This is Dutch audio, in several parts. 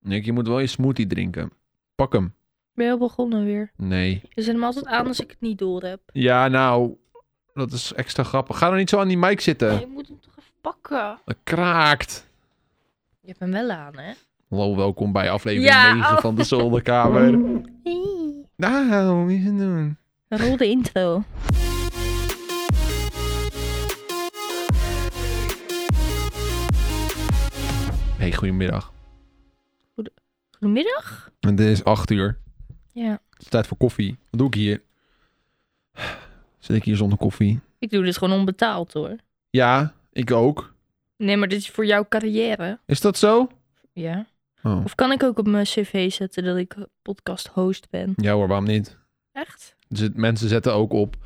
Nick, je moet wel je smoothie drinken. Pak hem. Ik ben heel begonnen weer. Nee. Je zet hem altijd aan als ik het niet door heb. Ja, nou. Dat is extra grappig. Ga dan niet zo aan die mic zitten. Nee, je moet hem toch even pakken. Dat kraakt. Je hebt hem wel aan, hè? Hallo, welkom bij aflevering Ja, 9 oh. van de Zolderkamer. Nou, hoe is het doen? Rol de intro. Hey, goedemiddag. Goedemiddag. Het is 8 uur. Ja. Het is tijd voor koffie. Wat doe ik hier? Zit ik hier zonder koffie? Ik doe dit gewoon onbetaald, hoor. Ja, ik ook. Nee, maar dit is voor jouw carrière. Is dat zo? Ja. Oh. Of kan ik ook op mijn cv zetten dat ik podcast host ben? Ja hoor, waarom niet? Echt? Dus mensen zetten ook op,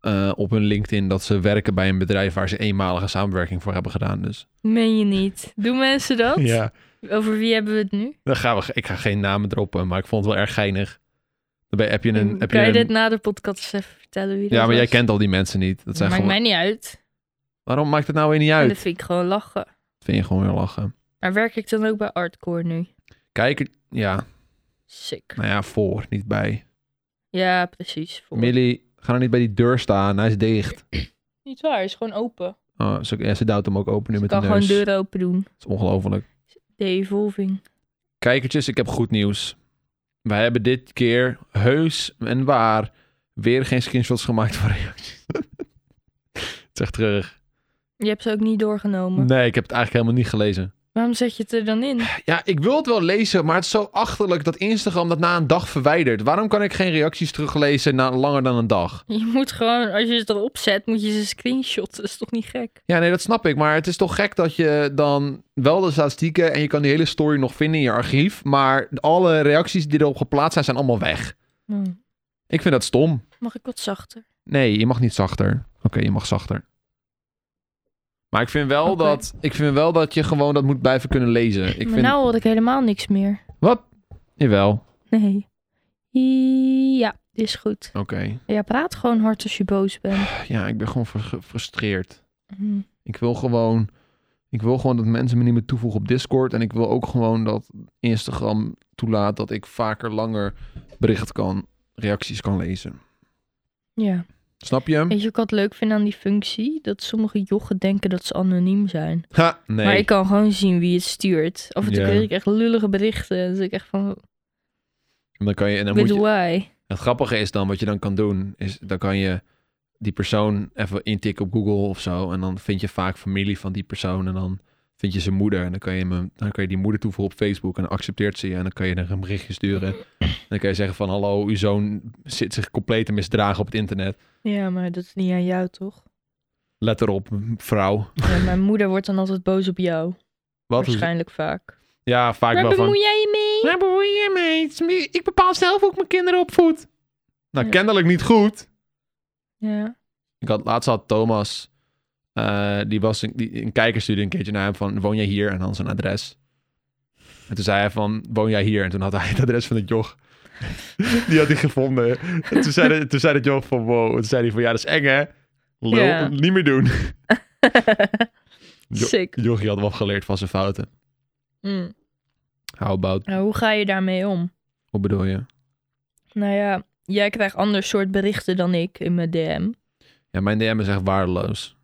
eh, op hun LinkedIn dat ze werken bij een bedrijf waar ze eenmalige samenwerking voor hebben gedaan. Dus. Meen je niet. Doen mensen dat? Over wie hebben we het nu? Dan gaan we, ge- ik ga geen namen droppen, maar ik vond het wel erg geinig. Daarbij heb je een. Heb je Mm, kan je, een- dit na de podcast eens even vertellen wie dat ja, maar jij was? kent al die mensen niet. Dat Dat zijn maakt gewoon, mij niet uit. Waarom maakt het nou weer niet En uit? dat vind ik gewoon lachen. Vind je gewoon weer lachen. Maar werk ik dan ook bij Artcore nu? Kijk, ja, Sick. nou ja, voor, niet bij. Ja, precies. Voor. Millie, ga nou niet bij die deur staan, hij is dicht. Niet waar, is gewoon open. Oh, ze, ja, ze duwt hem ook open nu Ik met de kan neus. gewoon deuren open doen. Dat is ongelooflijk. De evolving. Kijkertjes, ik heb goed nieuws. Wij hebben dit keer heus en waar weer geen screenshots gemaakt van reacties. het is echt terug. Je hebt ze ook niet doorgenomen. Nee, ik heb het eigenlijk helemaal niet gelezen. Waarom zet je het er dan in? Ja, ik wil het wel lezen, maar het is zo achterlijk dat Instagram dat na een dag verwijdert. Waarom kan ik geen reacties teruglezen na langer dan een dag? Je moet gewoon, als je het erop zet, moet je ze screenshotten. Dat is toch niet gek? Ja, nee, dat snap ik. Maar het is toch gek dat je dan wel de statistieken en je kan die hele story nog vinden in je archief. Maar alle reacties die erop geplaatst zijn, zijn allemaal weg. Ik vind dat stom. Hmm. Mag ik wat zachter? Nee, je mag niet zachter. Oké, je mag zachter. Maar ik vind, wel Oké. dat, ik vind wel dat je gewoon dat moet blijven kunnen lezen. Ik maar vind... nou hoor ik helemaal niks meer. Wat? Jawel. Nee. Ja, dit is goed. Oké. Ja, praat gewoon hard als je boos bent. Ja, ik ben gewoon ver- gefrustreerd. Hm. Ik wil gewoon... Ik wil gewoon dat mensen me niet meer toevoegen op Discord. En ik wil ook gewoon dat Instagram toelaat dat ik vaker langer bericht kan... reacties kan lezen. Ja. Snap je? Weet je wat ik altijd leuk vind aan die functie? Dat sommige jochen denken dat ze anoniem zijn. Ha, nee. Maar ik kan gewoon zien wie het stuurt. Af en toe Ja. kreeg ik echt lullige berichten. En dan zit ik echt van, En dan kan je... En dan moet with je... why? Het grappige is dan, wat je dan kan doen, is dan kan je die persoon even intikken op Google of zo. En dan vind je vaak familie van die persoon. En dan vind je zijn moeder. En dan kan je, hem, dan kan je die moeder toevoegen op Facebook. En dan accepteert ze je. En dan kan je er een berichtje sturen. En dan kan je zeggen van, hallo, uw zoon zit zich compleet te misdragen op het internet. Ja, maar dat is niet aan jou, toch? Let erop, vrouw. Ja, mijn moeder wordt dan altijd boos op jou. Wat? Waarschijnlijk vaak. Ja, vaak Waar wel van... bemoei jij je mee? Waar bemoei je mee? Ik bepaal zelf ook mijn kinderen opvoed. Nou, Ja. kennelijk niet goed. Ja. Ik had, laatst had Thomas, eh, die was een, die, een kijker stuurde een keertje naar hem van, woon jij hier? En dan zijn adres. En toen zei hij van, woon jij hier? En toen had hij het adres van het joch. die had hij gevonden. En toen zei, de- toen zei het joch van, wow. En toen zei hij van, ja, dat is eng hè? Lul, Ja. niet meer doen. Jo- Sick. Jochie had wel geleerd van zijn fouten. Mm. How about? Nou, hoe ga je daarmee om? Wat bedoel je? Nou ja, jij krijgt ander soort berichten dan ik in mijn DM. Ja, mijn DM is echt waardeloos.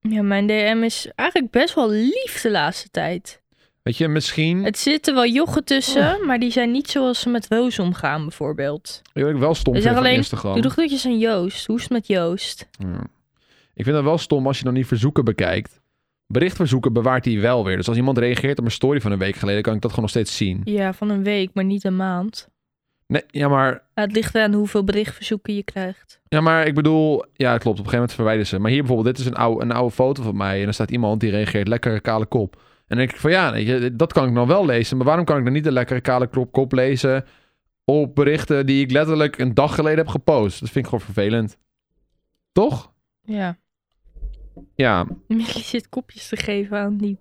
Ja, mijn DM is eigenlijk best wel lief de laatste tijd. Weet je, misschien... Het zitten wel jochen tussen, maar die zijn niet zoals ze met Roos omgaan, bijvoorbeeld. Ik vind het wel stom Is er vind van alleen- Instagram. Doe toch dat je zo'n Joost. Hoe is het met Joost? Ja. Ik vind dat wel stom als je dan die verzoeken bekijkt. Berichtverzoeken bewaart hij wel weer. Dus als iemand reageert op een story van een week geleden, kan ik dat gewoon nog steeds zien. Ja, van een week, maar niet een maand. Nee, ja, maar, Ja, het ligt eraan hoeveel berichtverzoeken je krijgt. ja, maar ik bedoel, ja, klopt. Op een gegeven moment verwijderen ze. Maar hier bijvoorbeeld, dit is een oude, een oude foto van mij. En dan staat iemand die reageert, lekkere kale kop. En dan denk ik van ja, weet je, dat kan ik nou wel lezen. Maar waarom kan ik dan niet de lekkere kale kop, kop lezen op berichten die ik letterlijk een dag geleden heb gepost? Dat vind ik gewoon vervelend. Toch? Ja. Ja, Millie zit kopjes te geven aan die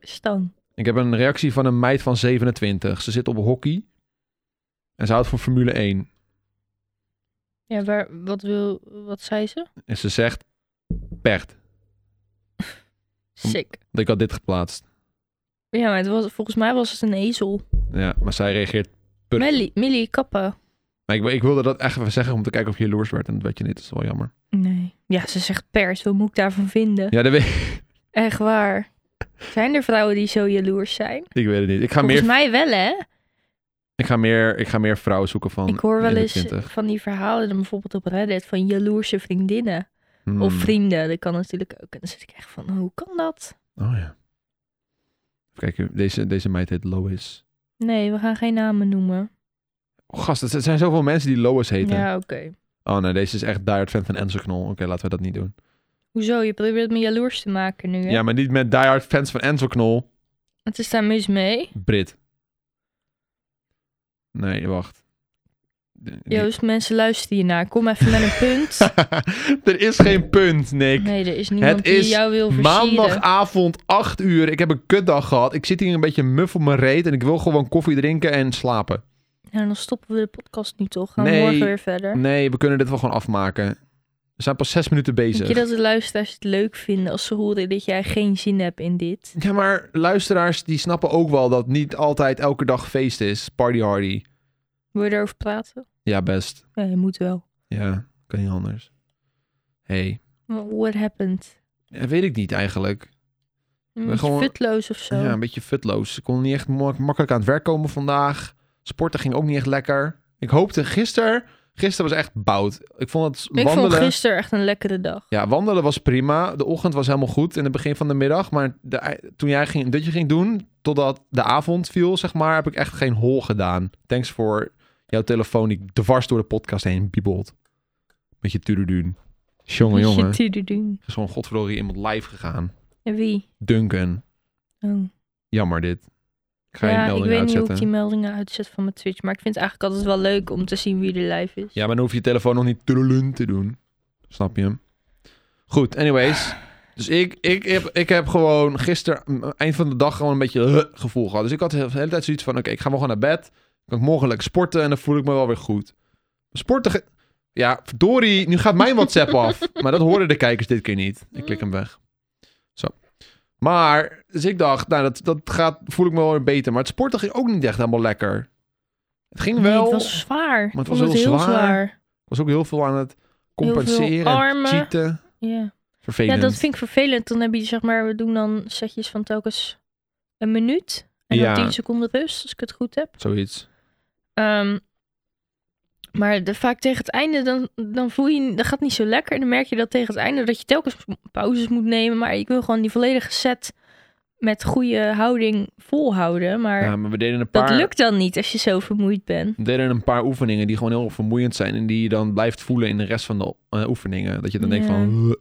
stang. Ik heb een reactie van een meid van 27. Ze zit op hockey. En ze houdt van Formule 1. Ja, waar, wat, wil, wat zei ze? En ze zegt... Pert, Sick. ik had dit geplaatst. Ja, maar het was, volgens mij was het een ezel. Ja, maar zij reageert... Put- Millie, Millie, kappen. Maar ik, ik wilde dat echt even zeggen om te kijken of je jaloers werd. En dat werd je niet. Dat is wel jammer. Nee. Ja, ze zegt pers. Wat moet ik daarvan vinden? Ja, dat weet ik. Echt waar. Zijn er vrouwen die zo jaloers zijn? Ik weet het niet. Ik ga, Volgens meer, mij wel, hè? ik, ga meer, ik ga meer vrouwen zoeken van Ik hoor wel in de eens eh, 20. van die verhalen, dan bijvoorbeeld op Reddit, van jaloerse vriendinnen. Hmm. Of vrienden, dat kan natuurlijk ook. En dan zit ik echt van, hoe kan dat? Oh ja. Even kijken. Deze, deze meid heet Lois. Nee, we gaan geen namen noemen. Oh, gast, het zijn zoveel mensen die Lois heten. Ja, oké. Oh nee, deze is echt diehard fan van Enzo Knol. Oké, laten we dat niet doen. Hoezo? Je probeert me jaloers te maken nu, hè? Ja, maar niet met diehard fans van Enzo Knol. Wat is daar mis mee? Brit. Nee, wacht. De- die- Joost, mensen luisteren hiernaar. Kom even met een punt. er is geen punt, Nick. Nee, er is niemand Het die is jou wil versieren. Maandagavond, 8 uur. Ik heb een kutdag gehad. Ik zit hier een beetje muf op mijn reet en ik wil gewoon koffie drinken en slapen. Nou, dan stoppen we de podcast nu toch? Gaan we Nee. morgen weer verder. Nee, we kunnen dit wel gewoon afmaken. We zijn pas zes minuten Denk bezig. je dat de luisteraars het leuk vinden als ze horen dat jij geen zin hebt in dit? Ja, maar luisteraars die snappen ook wel dat niet altijd elke dag feest is. Party hardy. Wil je erover praten? Ja, best. Ja, je moet wel. Ja, kan niet anders. Hey. What happened? Ja, weet ik niet eigenlijk. Een Mm, beetje gewoon- futloos of zo. Ja, een beetje futloos. Ik kon niet echt mak- makkelijk aan het werk komen vandaag. Sporten ging ook niet echt lekker. Ik hoopte gisteren... Gisteren was echt bout. Ik vond het ik wandelen... vond gisteren echt een lekkere dag. Ja, wandelen was prima. De ochtend was helemaal goed in het begin van de middag. Maar de, toen jij ging, dat je ging doen, totdat de avond viel, zeg maar, heb ik echt geen hol gedaan. Thanks voor jouw telefoon die dwars door de podcast heen biebelt. Met je tududuun. Jongen, jongen. Shit, die doen. Er is gewoon godverdorie iemand live gegaan. En wie? Duncan. Oh. Jammer dit. Ik ga je Ja, ik melding weet niet hoe uitzetten. ik die meldingen uitzet van mijn Twitch. Maar ik vind het eigenlijk altijd wel leuk om te zien wie er live is. Ja, maar dan hoef je je telefoon nog niet tudelun te doen. Snap je hem? Goed, anyways. Dus ik, ik, heb, ik heb gewoon gisteren, m- eind van de dag, gewoon een beetje eh, gevoel gehad. Dus ik had de hele tijd zoiets van, oké, ik ga wel gewoon naar bed. Kan ik morgen lekker sporten en dan voel ik me wel weer goed. Sporten, ge- ja, verdorie, nu gaat mijn WhatsApp af. Maar dat hoorden de kijkers dit keer niet. Ik klik hem weg. Zo. Maar, dus ik dacht, nou, dat, dat gaat, voel ik me wel weer beter. Maar het sporten ging ook niet echt helemaal lekker. Het ging Nee, wel... het was zwaar. Maar het Ik was vond heel heel zwaar. zwaar. was ook heel veel aan het veel compenseren, en armen. cheaten. Ja. Vervelend. Ja, dat vind ik vervelend. Dan heb je, zeg maar, we doen dan setjes van telkens een minuut. En Ja. dan 10 seconden rust, als ik het goed heb. Zoiets. Ehm, maar de, vaak tegen het einde, dan, dan voel je, dat gaat niet zo lekker. En dan merk je dat tegen het einde, dat je telkens pauzes moet nemen. Maar ik wil gewoon die volledige set met goede houding volhouden. Maar Ja, maar we deden een dat paar, lukt dan niet als je zo vermoeid bent. we deden een paar oefeningen die gewoon heel vermoeiend zijn. En die je dan blijft voelen in de rest van de eh, oefeningen. Dat je dan denkt Ja. van... "Huh."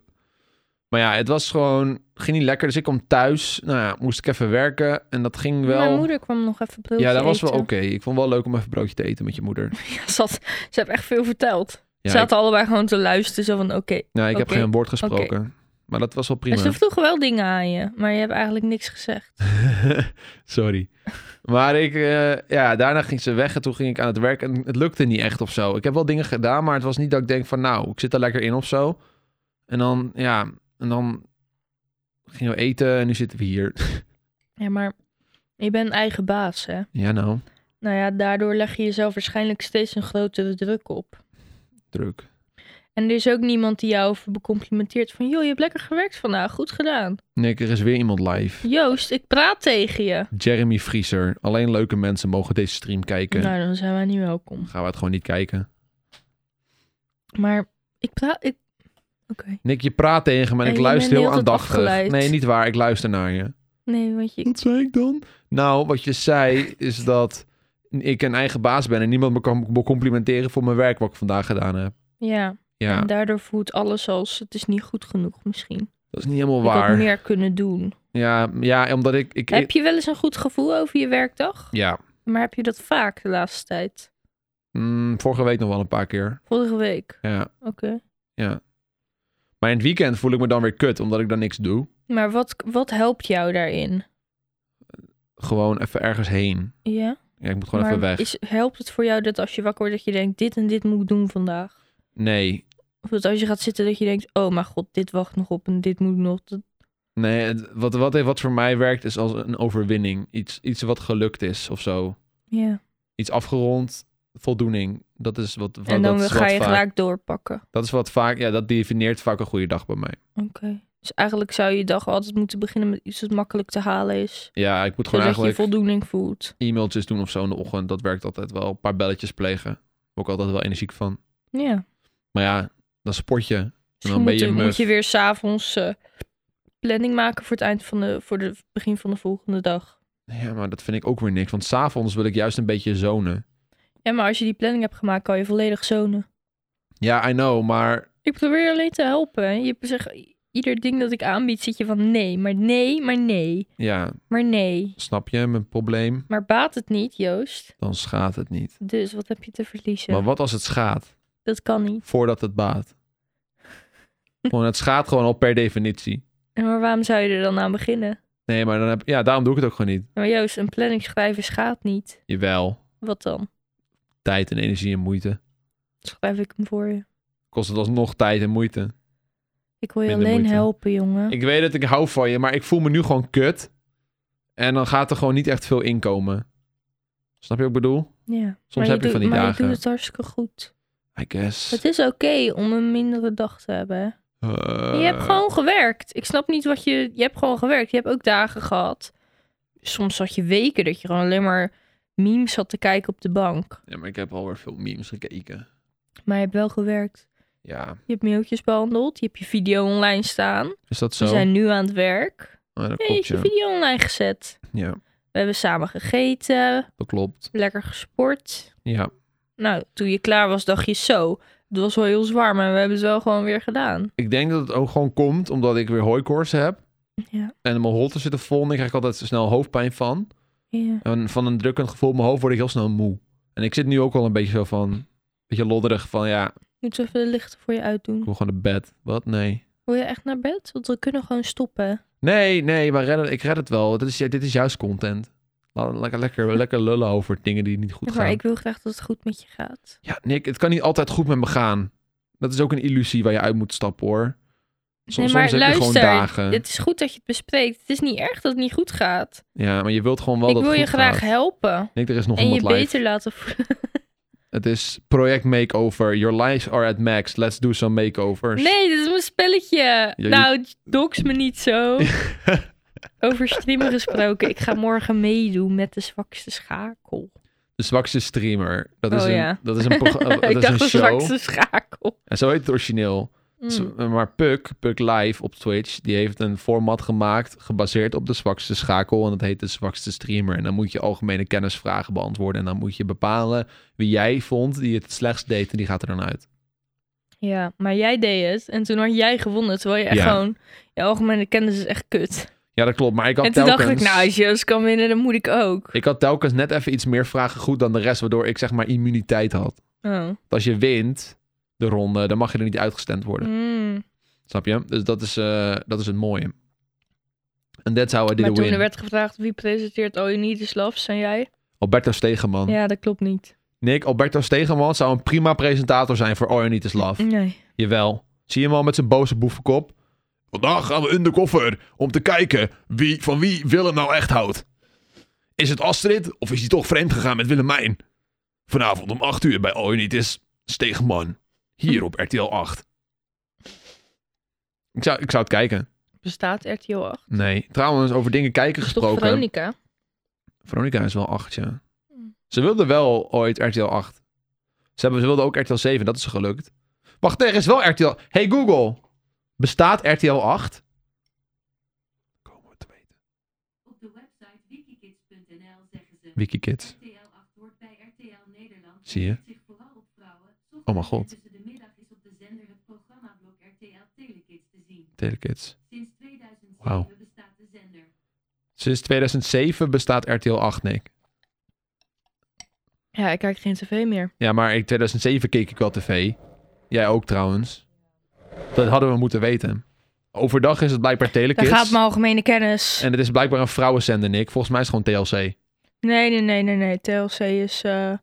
Maar ja, het was gewoon... Ging niet lekker. Dus ik kwam thuis. Nou ja, moest ik even werken. En dat ging wel... Mijn moeder kwam nog even broodje ja, dat was wel oké. eten. Ik vond het wel leuk om even broodje te eten met je moeder. Ja, ze, had- ze hebben echt veel verteld. Ja, ze ik, zaten allebei gewoon te luisteren. Zo van, oké. nou, ik oké, heb geen woord gesproken. Maar dat was wel En prima. ze vroegen wel dingen aan je, maar je hebt eigenlijk niks gezegd. Sorry. Maar ik, eh, ja, daarna ging ze weg en toen ging ik aan het werk en het lukte niet echt of zo. Ik heb wel dingen gedaan, maar het was niet dat ik denk van nou, ik zit daar lekker in of zo. En dan, ja, en dan gingen we eten en nu zitten we hier. Ja, maar je bent eigen baas, hè? Ja nou, Nou ja, daardoor leg je jezelf waarschijnlijk steeds een grotere druk op. druk. En er is ook niemand die jou over becomplimenteert van... joh, je hebt lekker gewerkt vandaag, goed gedaan. Nick, er is weer iemand live. Joost, ik praat tegen je. Jeremy Vriezer. Alleen leuke mensen mogen deze stream kijken. Nou, dan zijn wij niet welkom. Gaan we het gewoon niet kijken. Maar ik praat... Ik... Oké. Nick, je praat tegen me en Ja, ik je luister bent heel de hele tijd aandachtig. afgeleid. Nee, niet waar. Ik luister naar je. Nee, want je... Wat zei ik dan? Nou, wat je zei is dat ik een eigen baas ben en niemand me kan be- complimenteren voor mijn werk wat ik vandaag gedaan heb. Ja, Ja, en daardoor voelt alles als... het is niet goed genoeg misschien. dat is niet helemaal Ik had waar. meer kunnen doen. Ja, ja, omdat ik... ik Heb je wel eens een goed gevoel over je werkdag? Ja, Maar heb je dat vaak de laatste tijd? Mm, vorige week nog wel een paar keer. Vorige week, Ja, oké. ja. Maar in het weekend voel ik me dan weer kut, omdat ik dan niks doe. Maar wat, wat helpt jou daarin? Gewoon even ergens heen. Ja, Ja, ik moet gewoon maar even weg. Is, helpt het voor jou dat als je wakker wordt dat je denkt, dit en dit moet ik doen vandaag? Nee, Of dat als je gaat zitten dat je denkt, oh mijn god, dit wacht nog op en dit moet nog. Dat, Nee, het- wat, wat, wat voor mij werkt is als een overwinning. Iets, iets wat gelukt is of zo. Ja. Iets afgerond, voldoening. Dat is wat, wat, En dan dat is ga wat je vaak, gelijk doorpakken. Dat is wat vaak, ja, dat definieert vaak een goede dag bij mij. Oké. Dus eigenlijk zou je dag altijd moeten beginnen met iets wat makkelijk te halen is. Ja, ik moet gewoon Zodat eigenlijk je voldoening voelt. e-mailtjes doen of zo in de ochtend. Dat werkt altijd wel. Een paar belletjes plegen. Daar word ik altijd wel energiek van. Ja. Maar ja, dan sport je. Dus dan ben moet, je je moet muf. je weer s'avonds eh planning maken voor het eind van de, voor de begin van de volgende dag. Ja, maar dat vind ik ook weer niks. Want s'avonds wil ik juist een beetje zonen. Ja, maar als je die planning hebt gemaakt, kan je volledig zonen. Ja, I know, maar Ik probeer je alleen te helpen. hè. Je zegt, ieder ding dat ik aanbied, zit je van nee, maar nee, maar nee, ja, maar nee. snap je mijn probleem? Maar baat het niet, Joost. Dan schaadt het niet. Dus wat heb je te verliezen? Maar wat als het schaadt Dat kan niet. voordat het baat? gewoon, het schaadt gewoon al per definitie. En maar waarom zou je er dan aan beginnen? Nou, Nee, maar dan heb, ja, daarom doe ik het ook gewoon niet. Maar Joost, een planning schrijven schaadt niet. Jawel, Wat dan? tijd en energie en moeite. Schrijf ik hem voor je. Kost het alsnog tijd en moeite. Ik wil je Minder alleen moeite. helpen, jongen. Ik weet dat ik hou van je, maar ik voel me nu gewoon kut. En dan gaat er gewoon niet echt veel inkomen. Snap je wat ik bedoel? Ja. Soms heb je van die maar dagen. je doet het hartstikke goed. I guess. Het is oké om een mindere dag te hebben. hè. Je hebt Eh, gewoon gewerkt. Ik snap niet wat je... Je hebt gewoon gewerkt. Je hebt ook dagen gehad. Soms zat je weken dat je gewoon alleen maar memes zat te kijken op de bank. Ja, maar ik heb alweer veel memes gekeken. Maar je hebt wel gewerkt. Ja, Je hebt mailtjes behandeld. Je hebt je video online staan. is dat zo? We zijn nu aan het werk. Oh, dat Ja, je klopt, hebt je ja. video online gezet. Ja, We hebben samen gegeten. dat klopt. Lekker gesport. Ja, Nou, toen je klaar was, dacht je zo. Het was wel heel zwaar, maar we hebben het wel gewoon weer gedaan. ik denk dat het ook gewoon komt omdat ik weer hooikoorts heb. Ja. En mijn holten zitten vol en ik krijg ik altijd snel hoofdpijn van. Ja. En van een drukkend gevoel in mijn hoofd word ik heel snel moe. En ik zit nu ook al een beetje zo van, een beetje lodderig van ja, ik Moeten we even de lichten voor je uitdoen? wil gewoon naar bed. Wat? Nee. Wil je echt naar bed? Want we kunnen gewoon stoppen. Nee, nee, maar redden, ik red het wel. Dit is, dit is juist content. Laat- Lekker, lekker, lekker lullen over dingen die niet goed maar gaan. ik wil graag dat het goed met je gaat. Ja, Nick, het kan niet altijd goed met me gaan. Dat is ook een illusie waar je uit moet stappen, hoor. Soms, nee, maar soms heb je luister. gewoon dagen. Het is goed dat je het bespreekt. Het is niet erg dat het niet goed gaat. Ja, maar je wilt gewoon wel ik dat wil het je goed graag gaat. helpen. Nick, er is nog En je 100 live. beter laten voelen. Het is project makeover. Your lives are at max. Let's do some makeovers. Nee, dit is mijn spelletje. je- Nou, dox me niet zo. Over streamen gesproken. Ik ga morgen meedoen met de zwakste schakel. De zwakste streamer. Dat is Oh, een, ja. dat is een, prog- dat ik is dacht een de show. zwakste schakel. En zo heet het origineel. Z- Mm. eh, Maar Puk, Puk Live op Twitch, die heeft een format gemaakt gebaseerd op de zwakste schakel. En dat heet de zwakste streamer. En dan moet je algemene kennisvragen beantwoorden. En dan moet je bepalen wie jij vond die het slechtst deed. En die gaat er dan uit. Ja, maar jij deed het en toen had jij gewonnen. Terwijl je echt Ja. gewoon, je algemene kennis is echt kut. Ja, dat klopt. Maar ik had, en toen telkens, dacht ik, nou, als Joost kan winnen, dan moet ik ook. ik had telkens net even iets meer vragen goed dan de rest. Waardoor ik zeg maar immuniteit had. Oh. Want als je wint de ronde, dan mag je er niet uitgestemd worden. Mm. Snap je? Dus dat is, eh, dat is het mooie. En that's how I did Maar it toen win. er werd gevraagd wie presenteert All You Need Is Love, zijn jij? Alberto Stegeman. Ja, dat klopt niet. Nick, Alberto Stegeman zou een prima presentator zijn voor All You Need Is Love. Nee. Jawel. Zie je hem al met zijn boze boevenkop? Vandaag gaan we undercover om te kijken wie, van wie Willem nou echt houdt. Is het Astrid of is hij toch vreemd gegaan met Willemijn? Vanavond om 8 uur bij All You Need Is Stegeman. Hier op RTL 8. Ik zou, ik zou het kijken. Bestaat RTL 8? Nee. Trouwens, over dingen kijken Dat is toch gesproken. Veronica? Veronica is wel 8, ja. Mm. Ze wilde wel ooit RTL 8. Ze, hebben, ze wilde ook RTL 7, dat is gelukt. Wacht, er is wel RTL... Hey Google, bestaat RTL 8? Komen we te weten. Op de website wikikids.nl zeggen ze... Wikikids. RTL 8 wordt bij RTL Nederland... Zie je? richt zich vooral op vrouwen. Oh mijn god. Tussen de middag is op de zender het programmablok RTL Telekids te zien. Telekids. Sinds 2007 Wauw. bestaat de zender. Sinds 2007 bestaat RTL 8, Nick. Ja, ik kijk geen tv meer. Ja, maar in 2007 keek ik wel tv. Jij ook trouwens. Dat hadden we moeten weten. Overdag is Eh. het blijkbaar Daar Telekids. gaat mijn algemene kennis. En het is blijkbaar een vrouwenzender, Nick. Volgens mij is het gewoon TLC. Nee, nee, nee, nee, nee. TLC is eh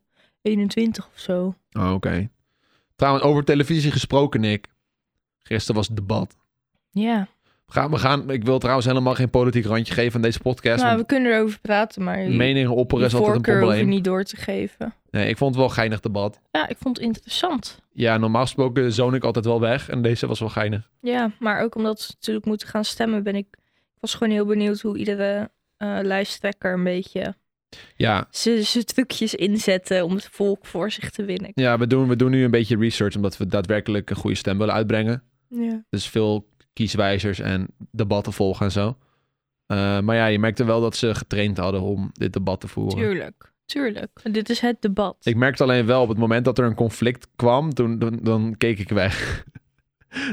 21 of zo. Oh, oké. Trouwens, over televisie gesproken, Nick. Gisteren was het debat. Ja. Ga, we gaan, ik wil trouwens helemaal geen politiek randje geven aan deze podcast. nou, want we kunnen erover praten, maar je, meningen opperen je is altijd een voorkeur hoef je probleem. niet door te geven. Nee, ik vond het wel een geinig debat. Ja, ik vond het interessant. Ja, normaal gesproken zoon ik altijd wel weg. En deze was wel geinig. Ja, maar ook omdat ze natuurlijk moeten gaan stemmen, ben ik... Ik was gewoon heel benieuwd hoe iedere eh lijsttrekker een beetje Ja, zijn trucjes inzetten om het volk voor zich te winnen. ja we, doen, we doen nu een beetje research omdat we daadwerkelijk een goede stem willen uitbrengen. Ja. Dus veel kieswijzers en debatten volgen en zo. Eh, maar ja, je merkte wel dat ze getraind hadden om dit debat te voeren. Tuurlijk, tuurlijk. Dit is het debat. Ik merkte alleen wel op het moment dat er een conflict kwam, toen, dan, dan keek ik weg.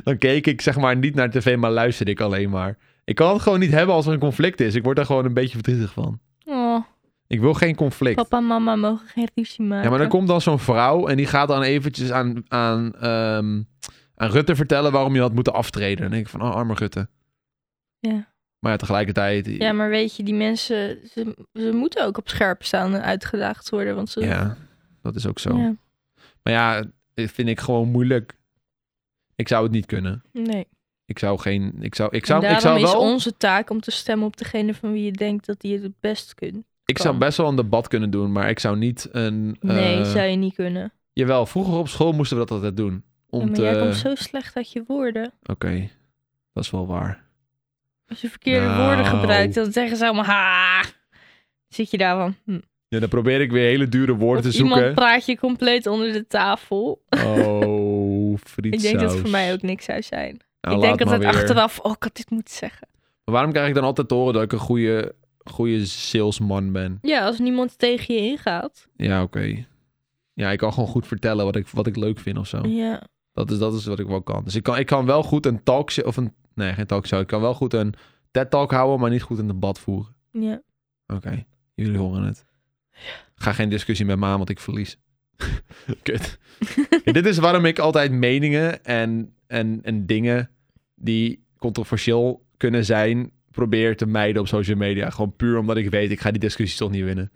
dan keek ik zeg maar niet naar tv, maar luisterde ik alleen maar. Ik kan het gewoon niet hebben als er een conflict is. Ik word daar gewoon een beetje verdrietig van. Oh, Ik wil geen conflict. papa en mama mogen geen ruzie maken. Ja, maar dan komt dan zo'n vrouw en die gaat dan eventjes aan, aan, ehm, aan Rutte vertellen waarom je had moeten aftreden. En dan denk ik van, oh, arme Rutte. Ja. Maar ja, tegelijkertijd... Ja, maar weet je, die mensen, ze, ze moeten ook op scherp staan en uitgedaagd worden. Want ze, Ja, dat is ook zo. Ja, Maar ja, dit vind ik gewoon moeilijk. Ik zou het niet kunnen. nee. Ik zou geen... Ik zou, ik en zou, ik daarom zou is wel... onze taak om te stemmen op degene van wie je denkt dat die het het best kunt. Ik zou kan. best wel een debat kunnen doen, maar ik zou niet een... Nee, eh, zou je niet kunnen. Jawel, vroeger op school moesten we dat altijd doen. Om Ja, maar te... jij komt zo slecht uit je woorden. Oké, dat is wel waar. Als je verkeerde Nou. woorden gebruikt, dan zeggen ze allemaal ha. Zit je daar van? Hm. Ja, dan probeer ik weer hele dure woorden Of te zoeken. iemand praat je compleet onder de tafel. Oh, frietsaus. Ik denk dat het voor mij ook niks zou zijn. Nou, ik laat denk altijd maar weer. achteraf, oh, ik had dit moeten zeggen. Maar waarom krijg ik dan altijd te horen dat ik een goede, goede salesman ben? Ja, als niemand tegen je ingaat. Ja, oké. Ja, ik kan gewoon goed vertellen wat ik, wat ik leuk vind of zo. Ja. Dat, is, dat is wat ik wel kan. Dus ik kan, ik kan wel goed een talk... of een, nee, geen talkshow. Ik kan wel goed een TED-talk houden, maar niet goed een debat voeren. ja. Oké, jullie horen het. Ga geen discussie met me aan, want ik verlies. Kut. Ja, dit is waarom ik altijd meningen en, en, en dingen die controversieel kunnen zijn, probeer te mijden op social media. Gewoon puur omdat ik weet, ik ga die discussies toch niet winnen.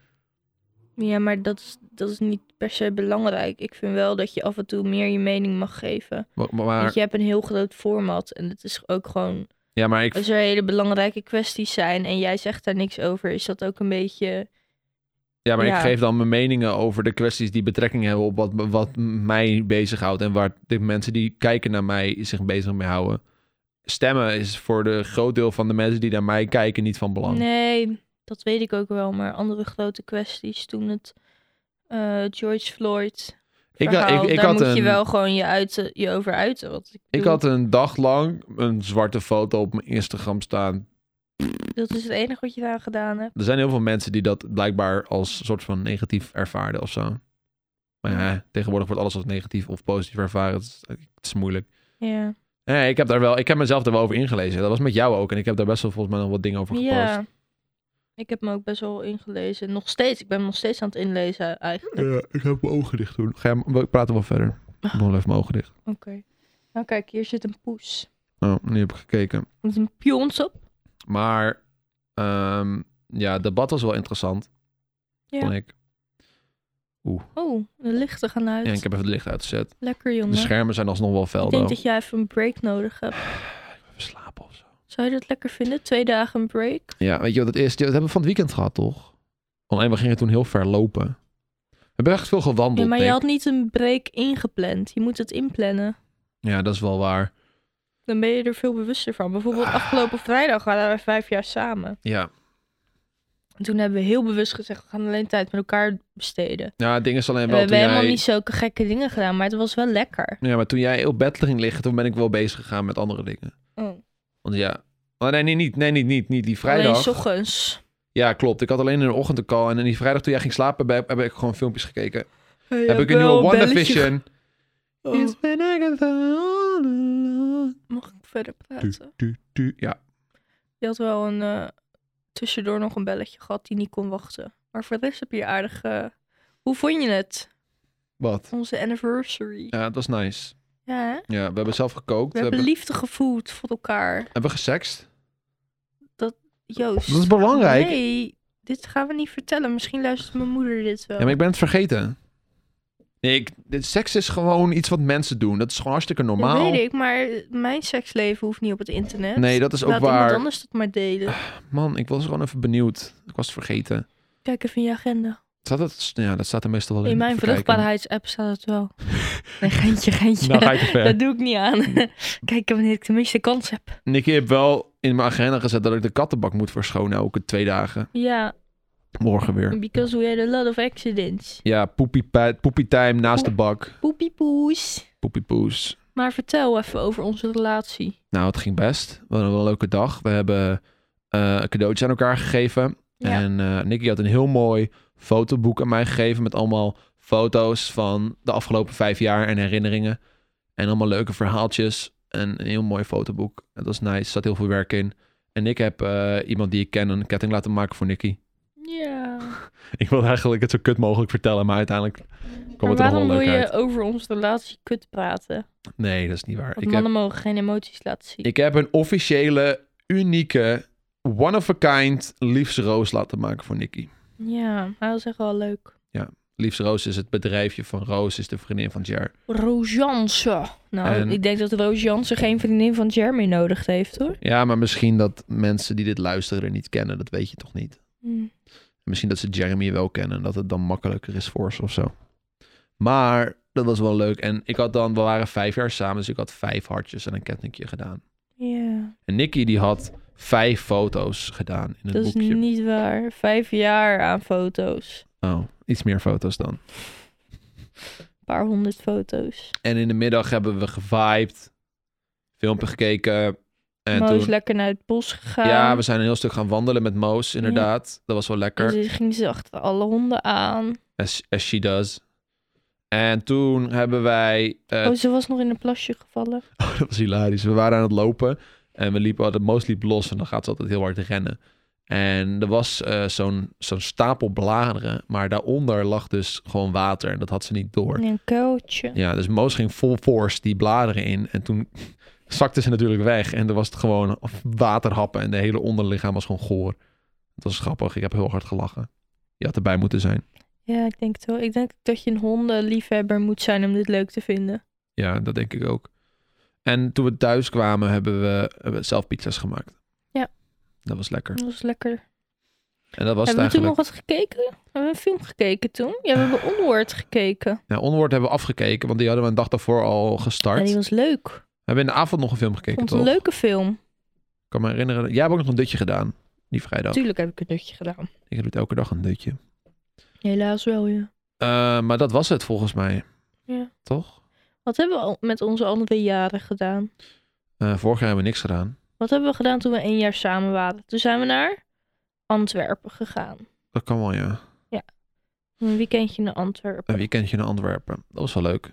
ja, maar dat is, dat is niet per se belangrijk. Ik vind wel dat je af en toe meer je mening mag geven. Maar, maar- Want je hebt een heel groot format. En het is ook gewoon... ja, maar ik, Als er hele belangrijke kwesties zijn en jij zegt daar niks over... is dat ook een beetje... ja, maar ja. ik geef dan mijn meningen over de kwesties die betrekking hebben op wat, wat mij bezighoudt en waar de mensen die kijken naar mij zich bezig mee houden. Stemmen is voor de groot deel van de mensen die naar mij kijken niet van belang. Nee, dat weet ik ook wel. Maar andere grote kwesties toen het... eh, George Floyd... Ik, had- verhaal, ik, ik, daar had moet je een, wel gewoon je, uiten, je over uiten. Want ik, ik bedoel, had een dag lang een zwarte foto op mijn Instagram staan. Dat is het enige wat je daar gedaan hebt. Er zijn heel veel mensen die dat blijkbaar als soort van negatief ervaarden of zo. Maar ja, tegenwoordig wordt alles als negatief of positief ervaren. Het is, het is moeilijk. Ja. Nee, ik heb daar wel, ik heb mezelf daar wel over ingelezen. Dat was met jou ook. En ik heb daar best wel volgens mij nog wat dingen over gepost. Ja. Ik heb me ook best wel ingelezen. Nog steeds. Ik ben me nog steeds aan het inlezen eigenlijk. ik heb mijn ogen dicht doen. Ga je, we praten wel verder. Ah. Ik doe wel even mijn ogen dicht. Oké. Nou kijk, hier zit een poes. Nou, nu heb ik gekeken. Er zit een pions op. Maar ehm, ja, het debat was wel interessant. Ja. Vond ik. Oh, de lichten gaan uit. En ik heb even het licht uitgezet. Lekker jongen. De schermen zijn alsnog wel fel. ik denk dat jij even een break nodig hebt. Even slapen of zo. Zou je dat lekker vinden? Twee dagen een break? Ja, weet je wat het is? Dat hebben we van het weekend gehad, toch? Alleen we gingen toen heel ver lopen. We hebben echt veel gewandeld. Ja, maar je denk- had niet een break ingepland. Je moet het inplannen. ja dat is wel waar. Dan ben je er veel bewuster van. Bijvoorbeeld Ah. afgelopen vrijdag waren we vijf jaar samen. Ja. En toen hebben we heel bewust gezegd, we gaan alleen tijd met elkaar besteden. ja, het ding is alleen we wel hebben toen helemaal jij... niet zulke gekke dingen gedaan, maar het was wel lekker. Ja, maar toen jij op bed ging liggen, toen ben ik wel bezig gegaan met andere dingen. Want ja... Oh, nee, nee, niet, nee, niet, niet, niet. Die Alleen vrijdag... 's ochtends. Ja, klopt. Ik had alleen in de ochtend een call. En in die vrijdag toen jij ging slapen, heb, heb ik gewoon filmpjes gekeken. heb ik een nieuwe WandaVision. Oh. It's been Agatha all along. mag ik verder Du, praten? du, du. Ja, Je had wel een, eh, tussendoor nog een belletje gehad die niet kon wachten. Maar voor de rest heb je aardig... eh, hoe vond je het? wat? Onze anniversary. Ja, Ja, dat is nice. hè? Ja, we hebben zelf gekookt. We hebben liefde gevoeld voor elkaar. Hebben we gesext? Joost. Dat is belangrijk. Nee, dit gaan we niet vertellen. Misschien luistert mijn moeder dit wel. Ja, maar ik ben het vergeten. Nee, ik, dit- seks is gewoon iets wat mensen doen. Dat is gewoon hartstikke normaal. Dat weet ik, maar mijn seksleven hoeft niet op het internet. Nee, dat is ook Laat iemand waar. anders dat maar delen. Man, ik was gewoon even benieuwd. Ik was het vergeten. Kijk even in je agenda. Staat dat, ja, dat staat er meestal wel in. In mijn Even kijken. vruchtbaarheidsapp staat het wel. Nee, geintje, geintje. Nou ga je Hmm. te ver. Dat doe ik niet aan. Kijk wanneer ik de meeste kans heb. Nicky heeft wel in mijn agenda gezet dat ik de kattenbak moet verschonen elke twee dagen. Ja, Morgen weer. because we had a lot of accidents. Ja, poepie, pa- poepie time naast de bak. Poepie poes. Poepie poes. Maar vertel even over onze relatie. Nou, het ging best. We hadden wel een leuke dag. We hebben eh een cadeautje aan elkaar gegeven. Ja. En eh Nicky had een heel mooi fotoboek aan mij gegeven met allemaal foto's van de afgelopen vijf jaar en herinneringen. En allemaal leuke verhaaltjes. En een heel mooi fotoboek. Dat was nice. Er zat heel veel werk in. En ik heb eh, iemand die ik ken een ketting laten maken voor Nicky. Ja. Ik wilde eigenlijk het zo kut mogelijk vertellen, maar uiteindelijk kwam Maar het er nog wel waarom wil leuk je uit. over onze relatie kut praten? Nee, dat is niet waar. Want Ik heb, mannen mogen geen emoties laten zien. ik heb een officiële, unieke, one-of-a-kind liefsroos laten maken voor Nicky. Ja, hij was echt wel leuk. Liefsroos is het bedrijfje van Roos, is de vriendin van Jer. Roos Jansen. Nou, En- ik denk dat Roos Jansen geen vriendin van Jeremy nodig heeft, hoor. Ja, maar misschien dat mensen die dit luisteren er niet kennen, dat weet je toch niet. Hm. Misschien dat ze Jeremy wel kennen en dat het dan makkelijker is voor ze of zo. Maar dat was wel leuk. En ik had dan, we waren vijf jaar samen, dus ik had vijf hartjes en een kettingje gedaan. Ja, En Nicky die had vijf foto's gedaan in het dat is boekje. niet waar. Vijf jaar aan foto's. Oh, iets meer foto's dan. Een paar honderd foto's. En in de middag hebben we gevibed, filmpje gekeken. En Mo is toen, lekker naar het bos gegaan. ja, we zijn een heel stuk gaan wandelen met Moos, inderdaad. Dat was wel lekker. En ze ging ze achter alle honden aan. As, as she does. En toen hebben wij... eh, Oh, ze was nog in een plasje gevallen. Oh, dat was hilarisch. We waren aan het lopen en we liepen, de moos liep los en dan gaat ze altijd heel hard rennen. En er was eh, zo'n zo'n stapel bladeren, maar daaronder lag dus gewoon water en dat had ze niet door. In een kuiltje. Ja, dus Moos ging full force die bladeren in en toen zakte ze natuurlijk weg en er was het gewoon waterhappen en de hele onderlichaam was gewoon goor. Het was grappig, ik heb heel hard gelachen. Je had erbij moeten zijn. Ja, ik denk het wel. Ik denk dat je een hondenliefhebber moet zijn om dit leuk te vinden. Ja, dat denk ik ook. En toen we thuis kwamen, hebben we, hebben we zelf pizza's gemaakt. Ja. Dat was lekker. Dat was lekker. En dat was het hebben we toen eigenlijk. Ah. nog wat gekeken? Hebben we een film gekeken toen? Ja, we hebben Onward gekeken. Nou, Onward hebben we afgekeken, want die hadden we een dag daarvoor al gestart. En die We was leuk. hebben in de avond nog een film Ik gekeken, vond toch? het een leuke film. Ik kan me herinneren. Jij hebt ook nog een dutje gedaan, die vrijdag. Tuurlijk heb ik een dutje gedaan. Ik doe het elke dag een dutje. Helaas wel, ja. Eh, maar dat was het volgens mij. Ja. Toch? Wat hebben we al met onze andere jaren gedaan? Eh, vorig jaar hebben we niks gedaan. Wat hebben we gedaan toen we één jaar samen waren? Toen zijn we naar Antwerpen gegaan. Dat kan wel, ja. Een weekendje naar Antwerpen. Een weekendje naar Antwerpen. Dat was wel leuk.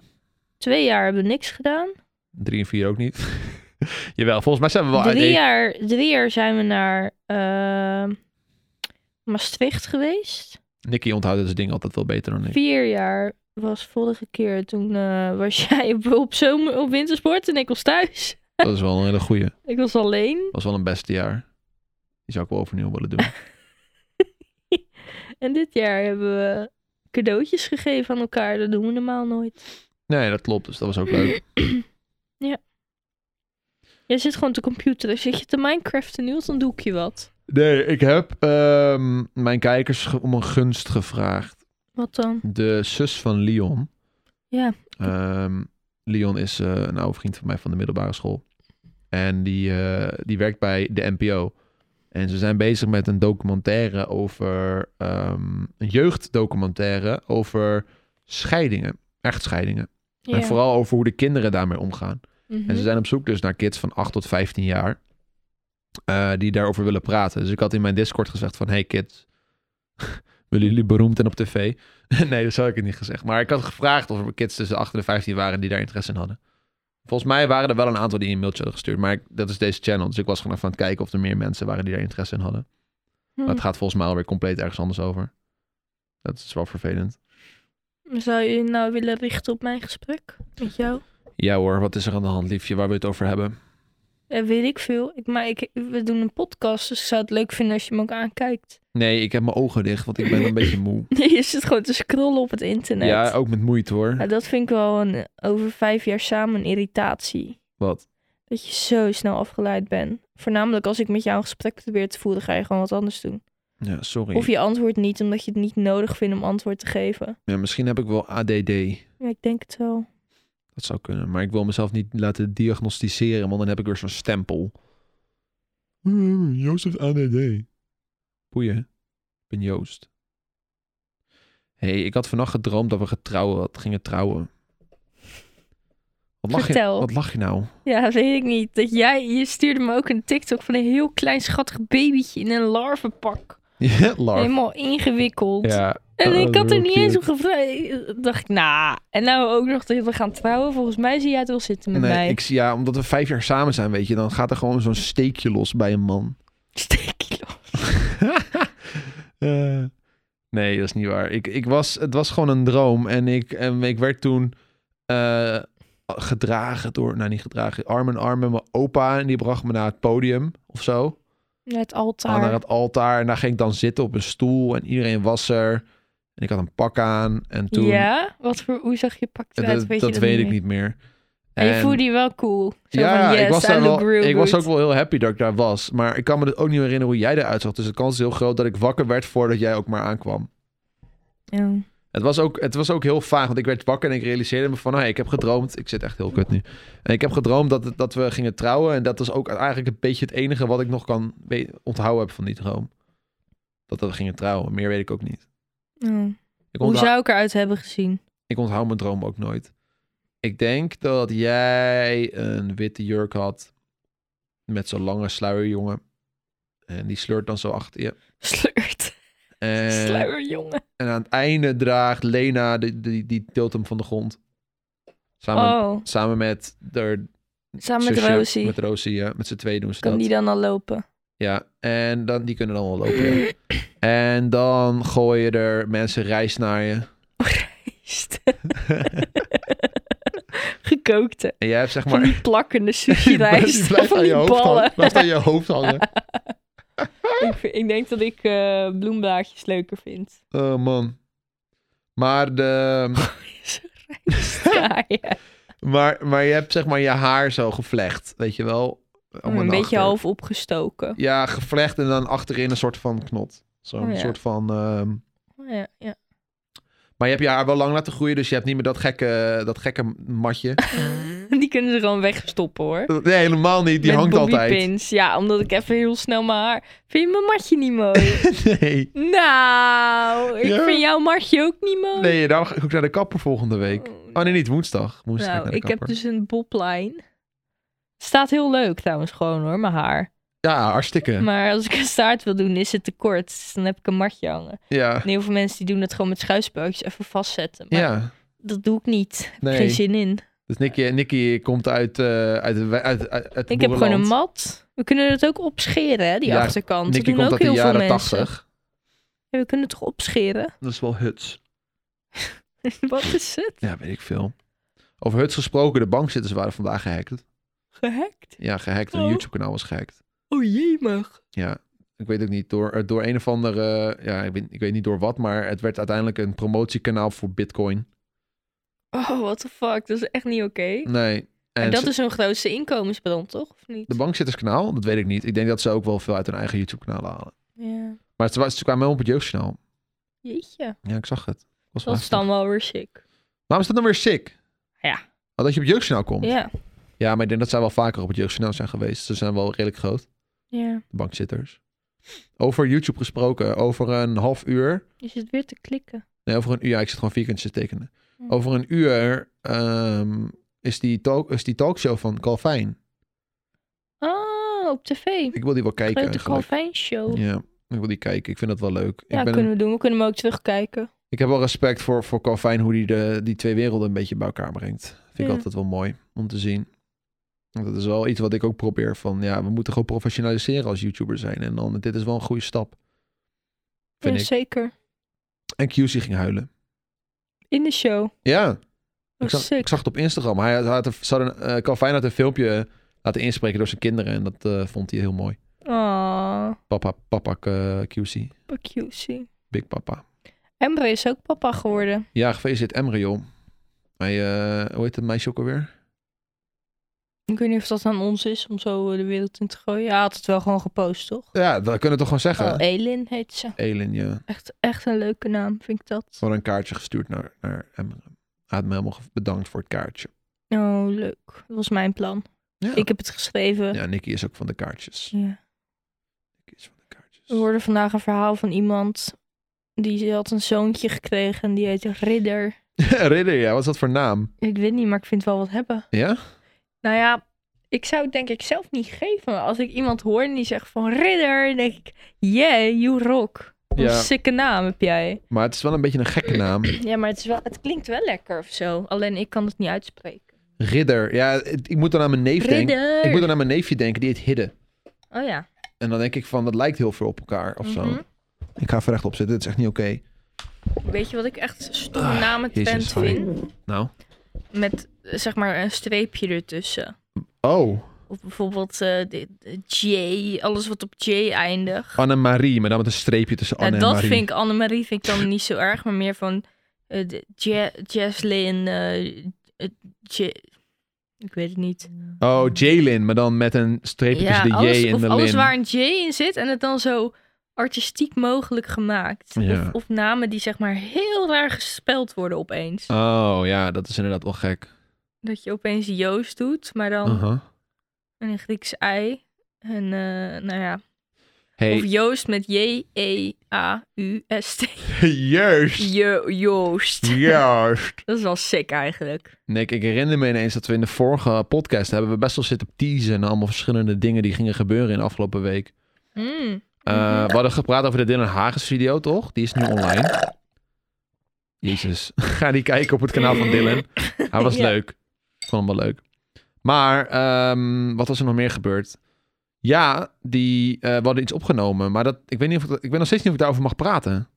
Twee jaar hebben we niks gedaan. Drie en vier ook niet. Jawel, volgens mij zijn we wel uit Drie eten. jaar, drie jaar zijn we naar ehm, Maastricht geweest. Nicky onthoudt het ding altijd wel beter dan ik. vier jaar was vorige keer. Toen eh, was jij op, op, zomer, op wintersport en ik was thuis. Dat is wel een hele goeie. Ik was alleen. Dat was wel een beste jaar. Die zou ik wel overnieuw willen doen. En dit jaar hebben we cadeautjes gegeven aan elkaar. Dat doen we normaal nooit. Nee, dat klopt. Dus dat was ook leuk. Jij zit gewoon te computeren. Zit je te Minecraften nu? want Dan doe ik je wat. Nee, ik heb ehm, mijn kijkers ge- om een gunst gevraagd. Wat dan? De zus van Leon. Ja. Ehm, Leon is eh, een oude vriend van mij van de middelbare school. En die, eh, die werkt bij de NPO. En ze zijn bezig met een documentaire over... ehm, een jeugddocumentaire over scheidingen. Echtscheidingen. Ja. En vooral over hoe de kinderen daarmee omgaan. Mhm. En ze zijn op zoek dus naar kids van 8 tot 15 jaar. eh, die daarover willen praten. Dus ik had in mijn Discord gezegd van... Hey kids, willen jullie beroemd en op tv? nee, dat zou ik het niet gezegd. Maar ik had gevraagd of er kids tussen 8 en 15 waren... die daar interesse in hadden. Volgens mij waren er wel een aantal die een mailtje hadden gestuurd. Maar ik- dat is deze channel. Dus ik was gewoon even aan het kijken of er meer mensen waren... die daar interesse in hadden. Hm. Maar het gaat volgens mij alweer compleet ergens anders over. Dat is wel vervelend. Zou je je nou willen richten op mijn gesprek met jou? Ja hoor, wat is er aan de hand, liefje? Waar wil je het over hebben? Eh, weet ik veel. Ik, maar ik, we doen een podcast, dus ik zou het leuk vinden als je me ook aankijkt. Nee, ik heb mijn ogen dicht, want ik ben een beetje moe. Nee, je zit gewoon te scrollen op het internet. Ja, ook met moeite Nou, hoor. dat vind ik wel een, over vijf jaar samen een irritatie. Wat? Dat je zo snel afgeleid bent. Voornamelijk als ik met jou een gesprek probeer te voeren, ga je gewoon wat anders doen. Ja, sorry. Of je antwoordt niet omdat je het niet nodig vindt om antwoord te geven. Ja, misschien heb ik wel ADD. Ja, ik denk het wel. Dat zou kunnen. Maar ik wil mezelf niet laten diagnosticeren, want dan heb ik weer zo'n stempel. Hmm, Joost heeft ADD. Boeien. Ik ben Joost. Hé, hey, ik had vannacht gedroomd dat we getrouwen, wat gingen trouwen. Wat lach, je, Vertel. wat lach je nou? Ja, weet ik niet. Dat jij, je stuurde me ook een TikTok van een heel klein schattig babytje in een larvenpak. Ja, Lars. Helemaal ingewikkeld. Ja, En Oh, ik had er heel niet eens cute. om gevraagd. Dacht ik, nou. En nou ook nog dat we gaan trouwen. Volgens mij zie jij het wel zitten met nee, mij. ik zie ja, omdat we vijf jaar samen zijn, weet je, dan gaat er gewoon zo'n steekje los bij een man. Steekje los. Eh, nee, dat is niet waar. Ik, ik was, het was gewoon een droom. En ik, en ik werd toen eh, gedragen door... Nou, niet gedragen. Arm in arm met mijn opa. En die bracht me naar het podium of zo. Naar het altaar. Aan naar het altaar. En daar ging ik dan zitten op een stoel. En iedereen was er. En ik had een pak aan. En toen... Ja? Wat voor, hoe zag je pak dat eruit? dat weet weet, je dat ik meer? niet meer. En je En- voelde je wel cool. Zo ja, van, yes, ik, was I daar look wel, real ik was good. ook wel heel happy dat ik daar was. Maar ik kan me dus ook niet meer herinneren hoe jij eruit zag. Dus de kans is heel groot dat ik wakker werd voordat jij ook maar aankwam. Ja. Het was, ook, het was ook heel vaag, want ik werd wakker en ik realiseerde me van... Hey, ik heb gedroomd, ik zit echt heel kut nu. En ik heb gedroomd dat, het- dat we gingen trouwen. En dat is ook eigenlijk een beetje het enige wat ik nog kan we- onthouden heb van die droom. Dat we gingen trouwen, meer weet ik ook niet. Ja. Ik Hoe onthoud, zou ik eruit hebben gezien? ik onthoud mijn droom ook nooit. Ik denk dat jij een witte jurk had met zo'n lange sluierjongen. En die sleurt dan zo achter je. Sleurt. En, Sluierjongen. en aan het einde draagt Lena, die, die, die tilt hem van de grond. Samen, Oh, Samen met de samen met zusje, Rosie. Met Rosie, ja. Met z'n twee doen ze Kan dat. die dan al lopen? Ja, en dan, die kunnen dan wel lopen. ja. En dan gooi je er mensen rijst naar je. Rijst. Gekookte. En jij hebt zeg Van maar... die plakkende sushi die rijst. blijft Van aan die je hoofd hangen. ballen. Blijft aan je hoofd hangen. ik, vind- ik denk dat ik eh, bloemblaadjes leuker vind. Oh man. Maar, de, Ja, maar, maar je hebt zeg maar je haar zo gevlecht, weet je wel? Allemaal een naar beetje achter. half opgestoken. Ja, gevlecht en dan achterin een soort van knot. Zo'n Oh ja. soort van... ehm, Oh, Ja, ja. maar je hebt je haar wel lang laten groeien, dus je hebt niet meer dat gekke, dat gekke matje. Die kunnen ze gewoon wegstoppen hoor. Nee, helemaal niet. Die Met hangt bobby altijd. Pins. Ja, omdat ik even heel snel mijn haar... Vind je mijn matje niet mooi? Nee. nou, ik Ja. vind jouw matje ook niet mooi. Nee, daarom ga ik ook naar de kapper volgende week. Oh, Oh nee, niet woensdag. Woensdag ga ik Nou, naar de ik heb kapper. dus een boblijn. Staat heel leuk trouwens gewoon hoor, mijn haar. Ja, hartstikke. Maar als ik een staart wil doen, is het te kort. Dus dan heb ik een matje hangen. Ja. En heel veel mensen die doen dat gewoon met schuispeukjes even vastzetten. Maar Ja. dat doe ik niet. Heb ik Nee. geen zin in. Dus Nicky, Nicky komt uit, eh uit, de we- uit, uit, uit Ik heb gewoon een mat. We kunnen het ook opscheren, hè, die Ja, achterkant. Nicky dat doen komt ook uit de heel veel jaren mensen. 80. Ja, we kunnen het toch opscheren? Dat is wel huts. Wat is het? Ja, weet ik veel. Over huts gesproken, de bankzitters waren vandaag gehackt. Gehackt? Ja, gehackt. Een Oh. YouTube-kanaal was gehackt. Oh jee, mag. Ja. Ik weet ook niet, door, eh, door een of andere... eh, Ja, ik weet, ik weet niet door wat, maar het werd uiteindelijk een promotiekanaal voor bitcoin. Oh, what the fuck. Dat is echt niet oké. Nee. En En dat ze- is hun grootste inkomensbron, toch? Of niet? De bankzitterskanaal, dat weet ik niet. Ik denk dat ze ook wel veel uit hun eigen YouTube-kanaal halen. Ja. Maar ze, wa- ze kwamen wel op het jeugdjournaal. Jeetje. Ja, ik zag het. Ik Was Dat is wel dan wel weer sick. Waarom is dat dan weer sick? Ja. Maar dat je op het jeugdjournaal komt. Ja. Ja. maar ik denk dat zij wel vaker op het jeugdjournaal zijn geweest. Ze zijn wel redelijk groot, ja. de bankzitters. Over YouTube gesproken, over een half uur... Je zit weer te klikken. Nee, over een uur. Ja, ik zit gewoon vierkantjes te tekenen. Hm. Over een uur ehm, is, die talk, is die talkshow van Calvijn. Oh, op tv. Ik wil die wel kijken Grote eigenlijk. Calvin Show. Ja, Ja, ik wil die kijken. Ik vind dat wel leuk. ik ben kunnen we doen. We kunnen hem ook terugkijken. Ik heb wel respect voor, voor Calvin, hoe hij de, die twee werelden een beetje bij elkaar brengt. Vind ik Ja. altijd wel mooi om te zien. Want Dat is wel iets wat ik ook probeer van, ja, we moeten gewoon professionaliseren als YouTuber zijn. En dan, dit is wel een goede stap. Vind Ja, ik. zeker. En QC ging huilen. In de show. Ja, Oh, ik zag, sick. ik zag het op Instagram. Hij had, had een, ze hadden, eh, Calvin had een filmpje laten laten inspreken door zijn kinderen. En dat eh, vond hij heel mooi. Oh, Papa, papa eh, QC. cutie. Big papa. Emre is ook papa geworden. Ja, gefeliciteerd Emre, joh. Hij, eh, hoe heet het meisje ook alweer? Ik weet niet of dat aan ons is om zo eh, de wereld in te gooien. Ja, hij had het wel gewoon gepost, toch? Ja, dat kunnen we toch gewoon zeggen. Oh, Elin heet ze. Elin, ja. Echt, echt een leuke naam, vind ik dat. We hadden een kaartje gestuurd naar, naar Emre. Hij had me helemaal ge- bedankt voor het kaartje. Oh, leuk. Dat was mijn plan. Ja, Ik heb het geschreven. ja Nicky is ook van de kaartjes. Ja. Nicky is van de kaartjes. We hoorden vandaag een verhaal van iemand die had een zoontje gekregen en die heet Ridder. Ridder, ja. Wat is dat voor naam? Ik weet niet, maar ik vind het wel wat hebben. Ja? Nou ja, ik zou het denk ik zelf niet geven. Maar als ik iemand hoor en die zegt van Ridder, dan denk ik, yeah, you rock. Wat Ja. een sikke naam heb jij. Maar het is wel een beetje een gekke naam. Ja, maar het, is wel, het klinkt wel lekker of zo. Alleen ik kan het niet uitspreken. Ridder. Ja, het- ik moet dan aan mijn neef denken. Ridder! Ik moet dan aan mijn neefje denken, die heet Hidde. Oh ja. En dan denk ik van, dat lijkt heel veel op elkaar of zo. Mhm. Ik ga even rechtop zitten, dit is echt niet oké. Weet je wat ik echt een stomme namen Ah, jezus, trend sorry. vind? Nou. Met eh, zeg maar een streepje ertussen. Oh, Of bijvoorbeeld eh, de, de J, alles wat op J eindigt. Annemarie, maar dan met een streepje tussen Nou, Anne en dat Marie. vind ik, Annemarie vind ik dan niet zo erg, maar meer van eh de Ja- Jaslyn, eh, eh, J- ik weet het niet. Oh, Jalen, maar dan met een streepje Ja, tussen de alles, J en of de Lin. alles waar een J in zit en het dan zo artistiek mogelijk gemaakt. Ja. Of, of namen die zeg maar heel raar gespeld worden opeens. Oh ja, dat is inderdaad wel gek. Dat je opeens Joost doet, maar dan Uh-huh. een Grieks ei. En eh, nou ja, of Hey, Joost met E J-E-A-U-S-T. juist. Jo- Joost. Juist. Dat is wel sick eigenlijk. Nick, ik herinner me ineens dat we in de vorige podcast hebben we best wel zitten teasen en allemaal verschillende dingen die gingen gebeuren in de afgelopen week. Mm. Eh, Mhm. We hadden gepraat over de Dylan Hagens video, toch? Die is nu online. Jezus. Ga die kijken op het kanaal van Dylan. Hij was Ja. leuk. Ik vond hem wel leuk. Maar ehm, wat was er nog meer gebeurd? Ja, die, eh, we hadden iets opgenomen. Maar dat, ik, weet niet of ik, dat- ik weet nog steeds niet of ik daarover mag praten.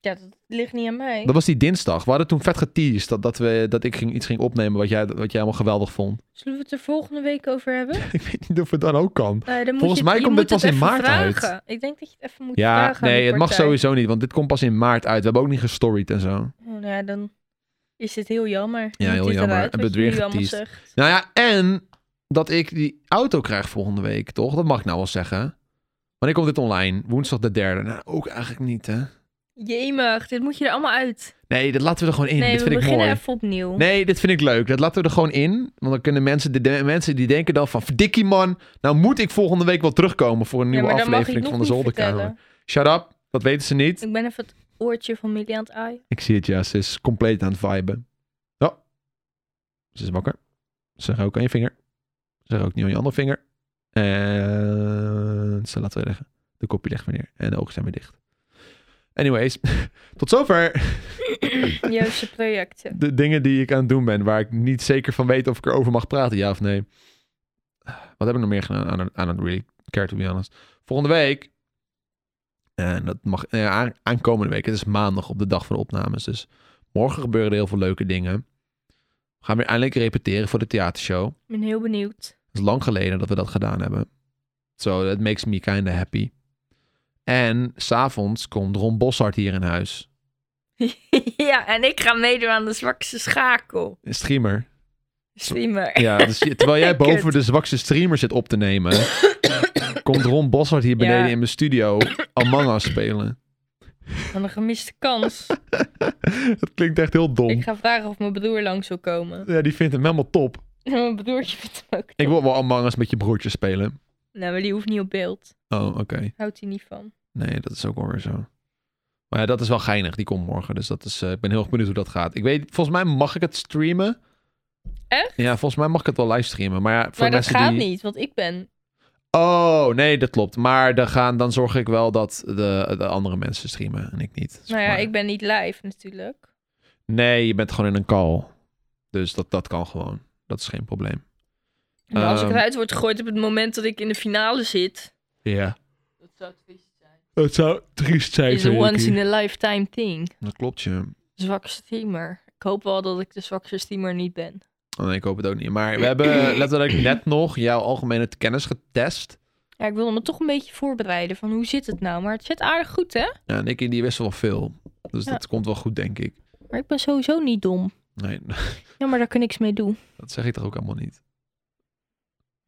Ja, dat ligt niet aan mij. Dat was die dinsdag. We hadden toen vet geteased dat, dat, we, dat ik ging, iets ging opnemen wat jij, wat jij helemaal geweldig vond. Zullen we het er volgende week over hebben? ik weet niet of het dan ook kan. Eh, dan moet Volgens je, mij je komt moet dit het pas in even maart uit. vragen. Ik denk dat je het even moet Ja, vragen. aan nee, die het mag partij. sowieso niet. Want dit komt pas in maart uit. We hebben ook niet gestoried en zo. Oh, nou ja, dan is het heel jammer. Ja, Moet heel dit jammer. eruit, Hebben wat we je het nu weer allemaal geteased. zegt. Nou ja, en dat ik die auto krijg volgende week, toch? Dat mag ik nou wel zeggen. Wanneer komt dit online? Woensdag de derde. Nou, ook eigenlijk niet, hè? Jemig, dit moet je er allemaal uit. Nee, dat laten we er gewoon in. nee, dit we vind ik beginnen mooi. even opnieuw. Nee, dit vind ik leuk. Dat laten we er gewoon in. Want dan kunnen mensen, de, de- mensen die denken dan van... Verdikkie man, nou moet ik volgende week wel terugkomen... voor een Ja, nieuwe maar dan mag ik aflevering nog van de niet Zolderkamer. vertellen. Shut up, dat weten ze niet. Ik ben even het oortje van Millie aan het aaien. Ik zie het, ja. Ze is compleet aan het viben. Oh. Ze is wakker. Zeg ook aan je vinger. Zeg ook niet aan je andere vinger. En ze laten we leggen. De kopje ligt weer neer. En de ogen zijn weer dicht. Anyways, tot zover Juiste projecten. de dingen die ik aan het doen ben. Waar ik niet zeker van weet of ik erover mag praten, ja of nee. Wat heb ik nog meer gedaan? aan don't, I don't really care to be honest. Volgende week. En dat mag eh, aan, aankomende week. Het is maandag op de dag van de opnames. Dus morgen gebeuren er heel veel leuke dingen. We gaan weer eindelijk repeteren voor de theatershow. Ik ben heel benieuwd. Het is lang geleden dat we dat gedaan hebben. So, that makes me kinda happy. En s'avonds komt Ron Bossart hier in huis. ja, en ik ga meedoen aan de zwakste schakel. Een Streamer. Streamer. Ja, dus je- terwijl jij boven Kut. de zwakste streamer zit op te nemen, komt Ron Bossard hier beneden Ja. in mijn studio Among Us spelen. Van een gemiste kans. Dat klinkt echt heel dom. Ik ga vragen of mijn broer langs wil komen. Ja, die vindt hem helemaal top. Mijn broertje vindt hem ook. Ik wil wel Among Us met je broertje spelen. Nou, maar die hoeft niet op beeld. Oh, oké. Houdt hij niet van. Nee, dat is ook wel weer zo. Maar ja, dat is wel geinig. Die komt morgen. Dus dat is, eh, ik ben heel erg benieuwd hoe dat gaat. Ik weet, volgens mij mag ik het streamen. Echt? Ja, volgens mij mag ik het wel livestreamen. Maar ja, voor maar dat mensen gaat die... niet, want ik ben. Oh, nee, dat klopt. Maar dan, gaan, dan zorg ik wel dat de, de andere mensen streamen en ik niet. zeg Nou ja, maar. ik ben niet live natuurlijk. Nee, je bent gewoon in een call. Dus dat, dat kan gewoon. Dat is geen probleem. Maar als ik Ehm. eruit word gegooid op het moment dat ik in de finale zit. Ja. Dat zou triest zijn. Het zou triest zijn. Is een once in a lifetime thing. Dat klopt, je. Zwakste streamer. Ik hoop wel dat ik de zwakste streamer niet ben. Oh, nee, ik hoop het ook niet. Maar we hebben letterlijk net nog jouw algemene kennis getest. Ja, ik wilde me toch een beetje voorbereiden van hoe zit het nou. Maar het zit aardig goed, hè? Ja, en ik die wist wel veel. Dus Ja. dat komt wel goed, denk ik. Maar ik ben sowieso niet dom. Nee, Jammer dat ik er niks mee doe. dat zeg ik toch ook allemaal niet.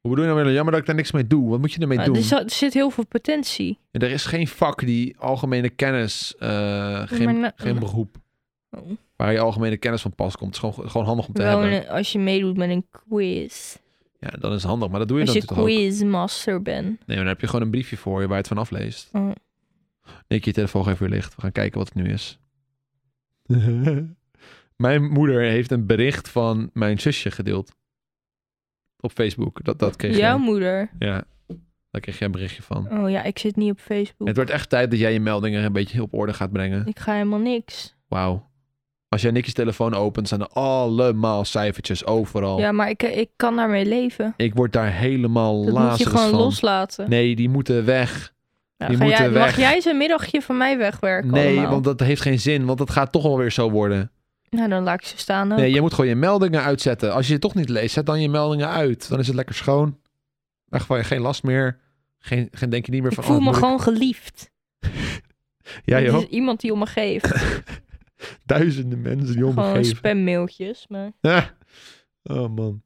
Hoe bedoel je nou weer? Jammer dat ik daar niks mee doe. Wat moet je ermee Maar doen? er, za- er zit heel veel potentie. En er is geen vak die algemene kennis, eh, maar geen, na- geen beroep, Oh. waar je algemene kennis van pas komt. Het is gewoon, gewoon handig om te Wel eh, hebben. een- als je meedoet met een quiz. Ja, dan is het handig, maar dat doe je Als dan je natuurlijk ook. quizmaster bent. Nee, maar dan heb je gewoon een briefje voor je waar je het van afleest. Oh. Nick, je telefoon geeft weer licht. We gaan kijken wat het nu is. mijn moeder heeft een bericht van mijn zusje gedeeld. Op Facebook. Dat, dat kreeg Jouw jij. moeder. Ja, daar kreeg jij een berichtje van. Oh ja, ik zit niet op Facebook. Het wordt echt tijd dat jij je meldingen een beetje op orde gaat brengen. Ik ga helemaal niks. Wauw. Als jij Nicky's telefoon opent, zijn er allemaal cijfertjes overal. Ja, maar ik, ik kan daarmee leven. Ik word daar helemaal Dat moet je lazerus gewoon van. loslaten. Nee, die moeten weg. Ja, die ga moeten jij, weg. mag jij zijn middagje van mij wegwerken? nee, allemaal? want dat heeft geen zin, want dat gaat toch alweer zo worden. Nou, dan laat ik ze staan. ook. Nee, je moet gewoon je meldingen uitzetten. Als je het toch niet leest, zet dan je meldingen uit. Dan is het lekker schoon. Echt gewoon geen last meer. Geen, geen denk je niet meer ik van... voel oh, me moet ik- gewoon geliefd. Ja Er joh, is iemand die om me geeft. duizenden mensen die om me gewoon geven. spammailtjes. Maar... Oh man.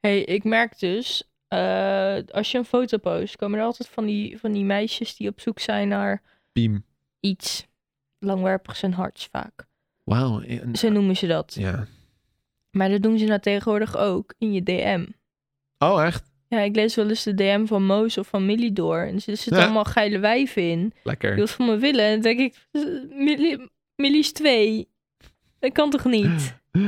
hey, ik merk dus, eh, als je een foto post, komen er altijd van die, van die meisjes die op zoek zijn naar Piem. iets langwerpigs en harts vaak. Wauw. en- Zo noemen ze dat. Ja. Maar dat doen ze nou tegenwoordig ook in je DM. Oh echt? Ja, ik lees wel eens de DM van Moos of van Millie door. En er zitten Ja. allemaal geile wijven in. Lekker. Die wat van me willen. En dan denk ik, "Eh, Millie, Millie is twee. Dat kan toch niet? Oh,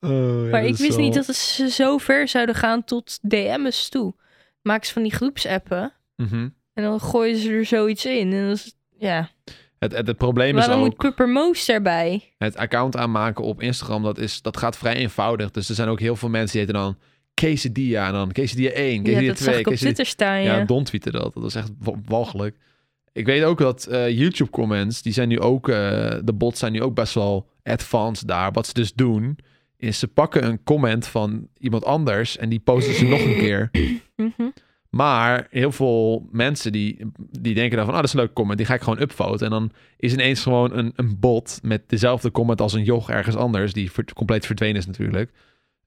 ja, Maar dat ik is wist wel- niet dat ze zo ver zouden gaan tot DM's toe. Maak ze van die groepsappen. Mhm. En dan gooien ze er zoiets in. En dat is, ja. Het, het, het probleem is Waarom ook, moet Pupper Moos daarbij? het account aanmaken op Instagram, dat, is, dat gaat vrij eenvoudig. Dus er zijn ook heel veel mensen die heten dan Quesadilla en dan Quesadilla 1, Ja, Quesadilla dat 2, zag ik op Quesadilla... Twitter staan, ja. Ja, Don tweette dat. Dat is echt wa- walgelijk. Ik weet ook dat eh, YouTube comments, die zijn nu ook, eh, de bots zijn nu ook best wel advanced daar. Wat ze dus doen, is ze pakken een comment van iemand anders en die posten ze nog een keer. Mhm. Maar heel veel mensen die, die denken dan van, ah, dat is een leuke comment, die ga ik gewoon upvoten. En dan is ineens gewoon een, een bot met dezelfde comment als een joch ergens anders, die ver- compleet verdwenen is natuurlijk.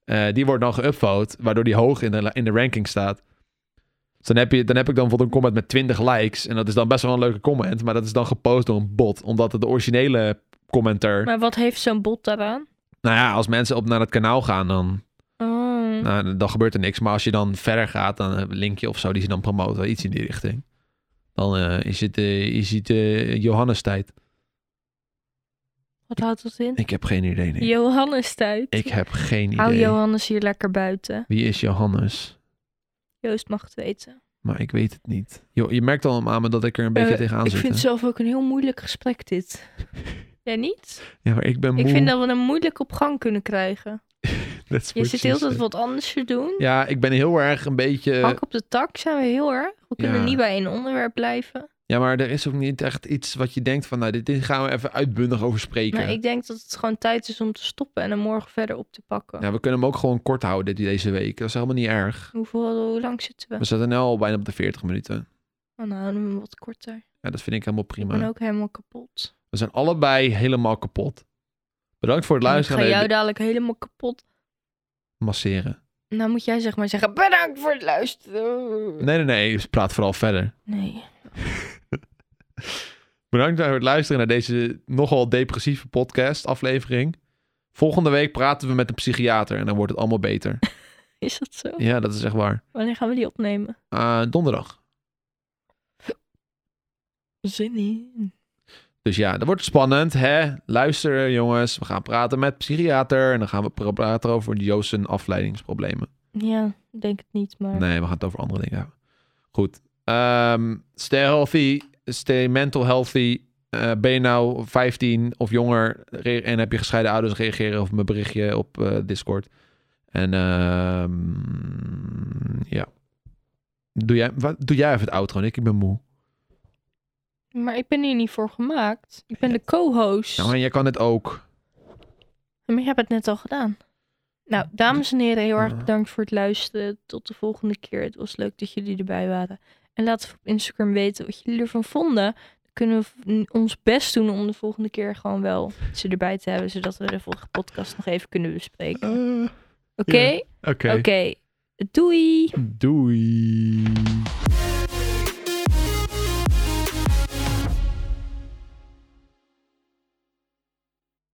Eh, die wordt dan geupvote, waardoor die hoog in de, la- in de ranking staat. Dus dan heb, je, dan heb ik dan bijvoorbeeld een comment met 20 likes. En dat is dan best wel een leuke comment, maar dat is dan gepost door een bot. Omdat het de originele commenter... Maar wat heeft zo'n bot daaraan? Nou ja, als mensen op naar het kanaal gaan, dan, Oh. nou, dan gebeurt er niks. Maar als je dan verder gaat, dan een linkje of zo die ze dan promoten, iets in die richting. Dan eh, is het, eh, is het eh, Johannes tijd. Wat houdt dat in? Ik heb geen idee. Nick. Johannes tijd. Ik heb geen idee. Hou Johannes hier lekker buiten. Wie is Johannes? Joost mag het weten. Maar ik weet het niet. Jo, je merkt al aan me dat ik er een beetje Eh, tegenaan ik zit. vind hè? zelf ook een heel moeilijk gesprek dit. Jij niet? Ja, maar ik ben moe. Ik vind dat we hem moeilijk op gang kunnen krijgen. That's Je what zit she heel de tijd said. wat anders te doen. Ja, ik ben heel erg een beetje... Hak op de tak zijn we heel erg. We kunnen ja. niet bij één onderwerp blijven. Ja, maar er is ook niet echt iets wat je denkt van... Nou, dit, dit gaan we even uitbundig over spreken. Maar ik denk dat het gewoon tijd is om te stoppen en hem morgen verder op te pakken. Ja, we kunnen hem ook gewoon kort houden dit, deze week. Dat is helemaal niet erg. Hoeveel, eh, hoe lang zitten we? We zaten nu al bijna op de 40 minuten. Oh, nou, houden we hem wat korter. Ja, dat vind ik helemaal prima. Ik ben ook helemaal kapot. We zijn allebei helemaal kapot. Bedankt voor het ik luisteren ga naar jou dit dadelijk helemaal kapot. masseren. Nou moet jij zeg maar zeggen, bedankt voor het luisteren. Nee, nee, nee. Praat vooral verder. Nee. Bedankt voor het luisteren naar deze nogal depressieve podcast aflevering. Volgende week praten we met een psychiater en dan wordt het allemaal beter. Is dat zo? Ja, dat is echt waar. Wanneer gaan we die opnemen? Eh, donderdag. Zin in. Dus ja, dat wordt spannend, hè? Luister, jongens. We gaan praten met psychiater en dan gaan we pra- praten over Joost zijn afleidingsproblemen. Ja, ik denk het niet, maar... Nee, we gaan het over andere dingen hebben. Goed. Ehm, stay healthy. Stay mental healthy. Eh, ben je nou 15 of jonger re- en heb je gescheiden ouders, reageren op mijn berichtje op eh, Discord. En ehm, ja. Doe jij, wat, doe jij even het outro, Nick? Ik ben moe. Maar ik ben hier niet voor gemaakt. Ik ben de co-host. Nou, en jij kan het ook. Maar je hebt het net al gedaan. Nou, dames en heren, heel erg Ja. bedankt voor het luisteren. Tot de volgende keer. Het was leuk dat jullie erbij waren. En laat even op Instagram weten wat jullie ervan vonden. Dan kunnen we v- ons best doen om de volgende keer gewoon wel ze erbij te hebben. Zodat we de volgende podcast nog even kunnen bespreken. Oké? ja. Oké. Oké. Doei! Doei.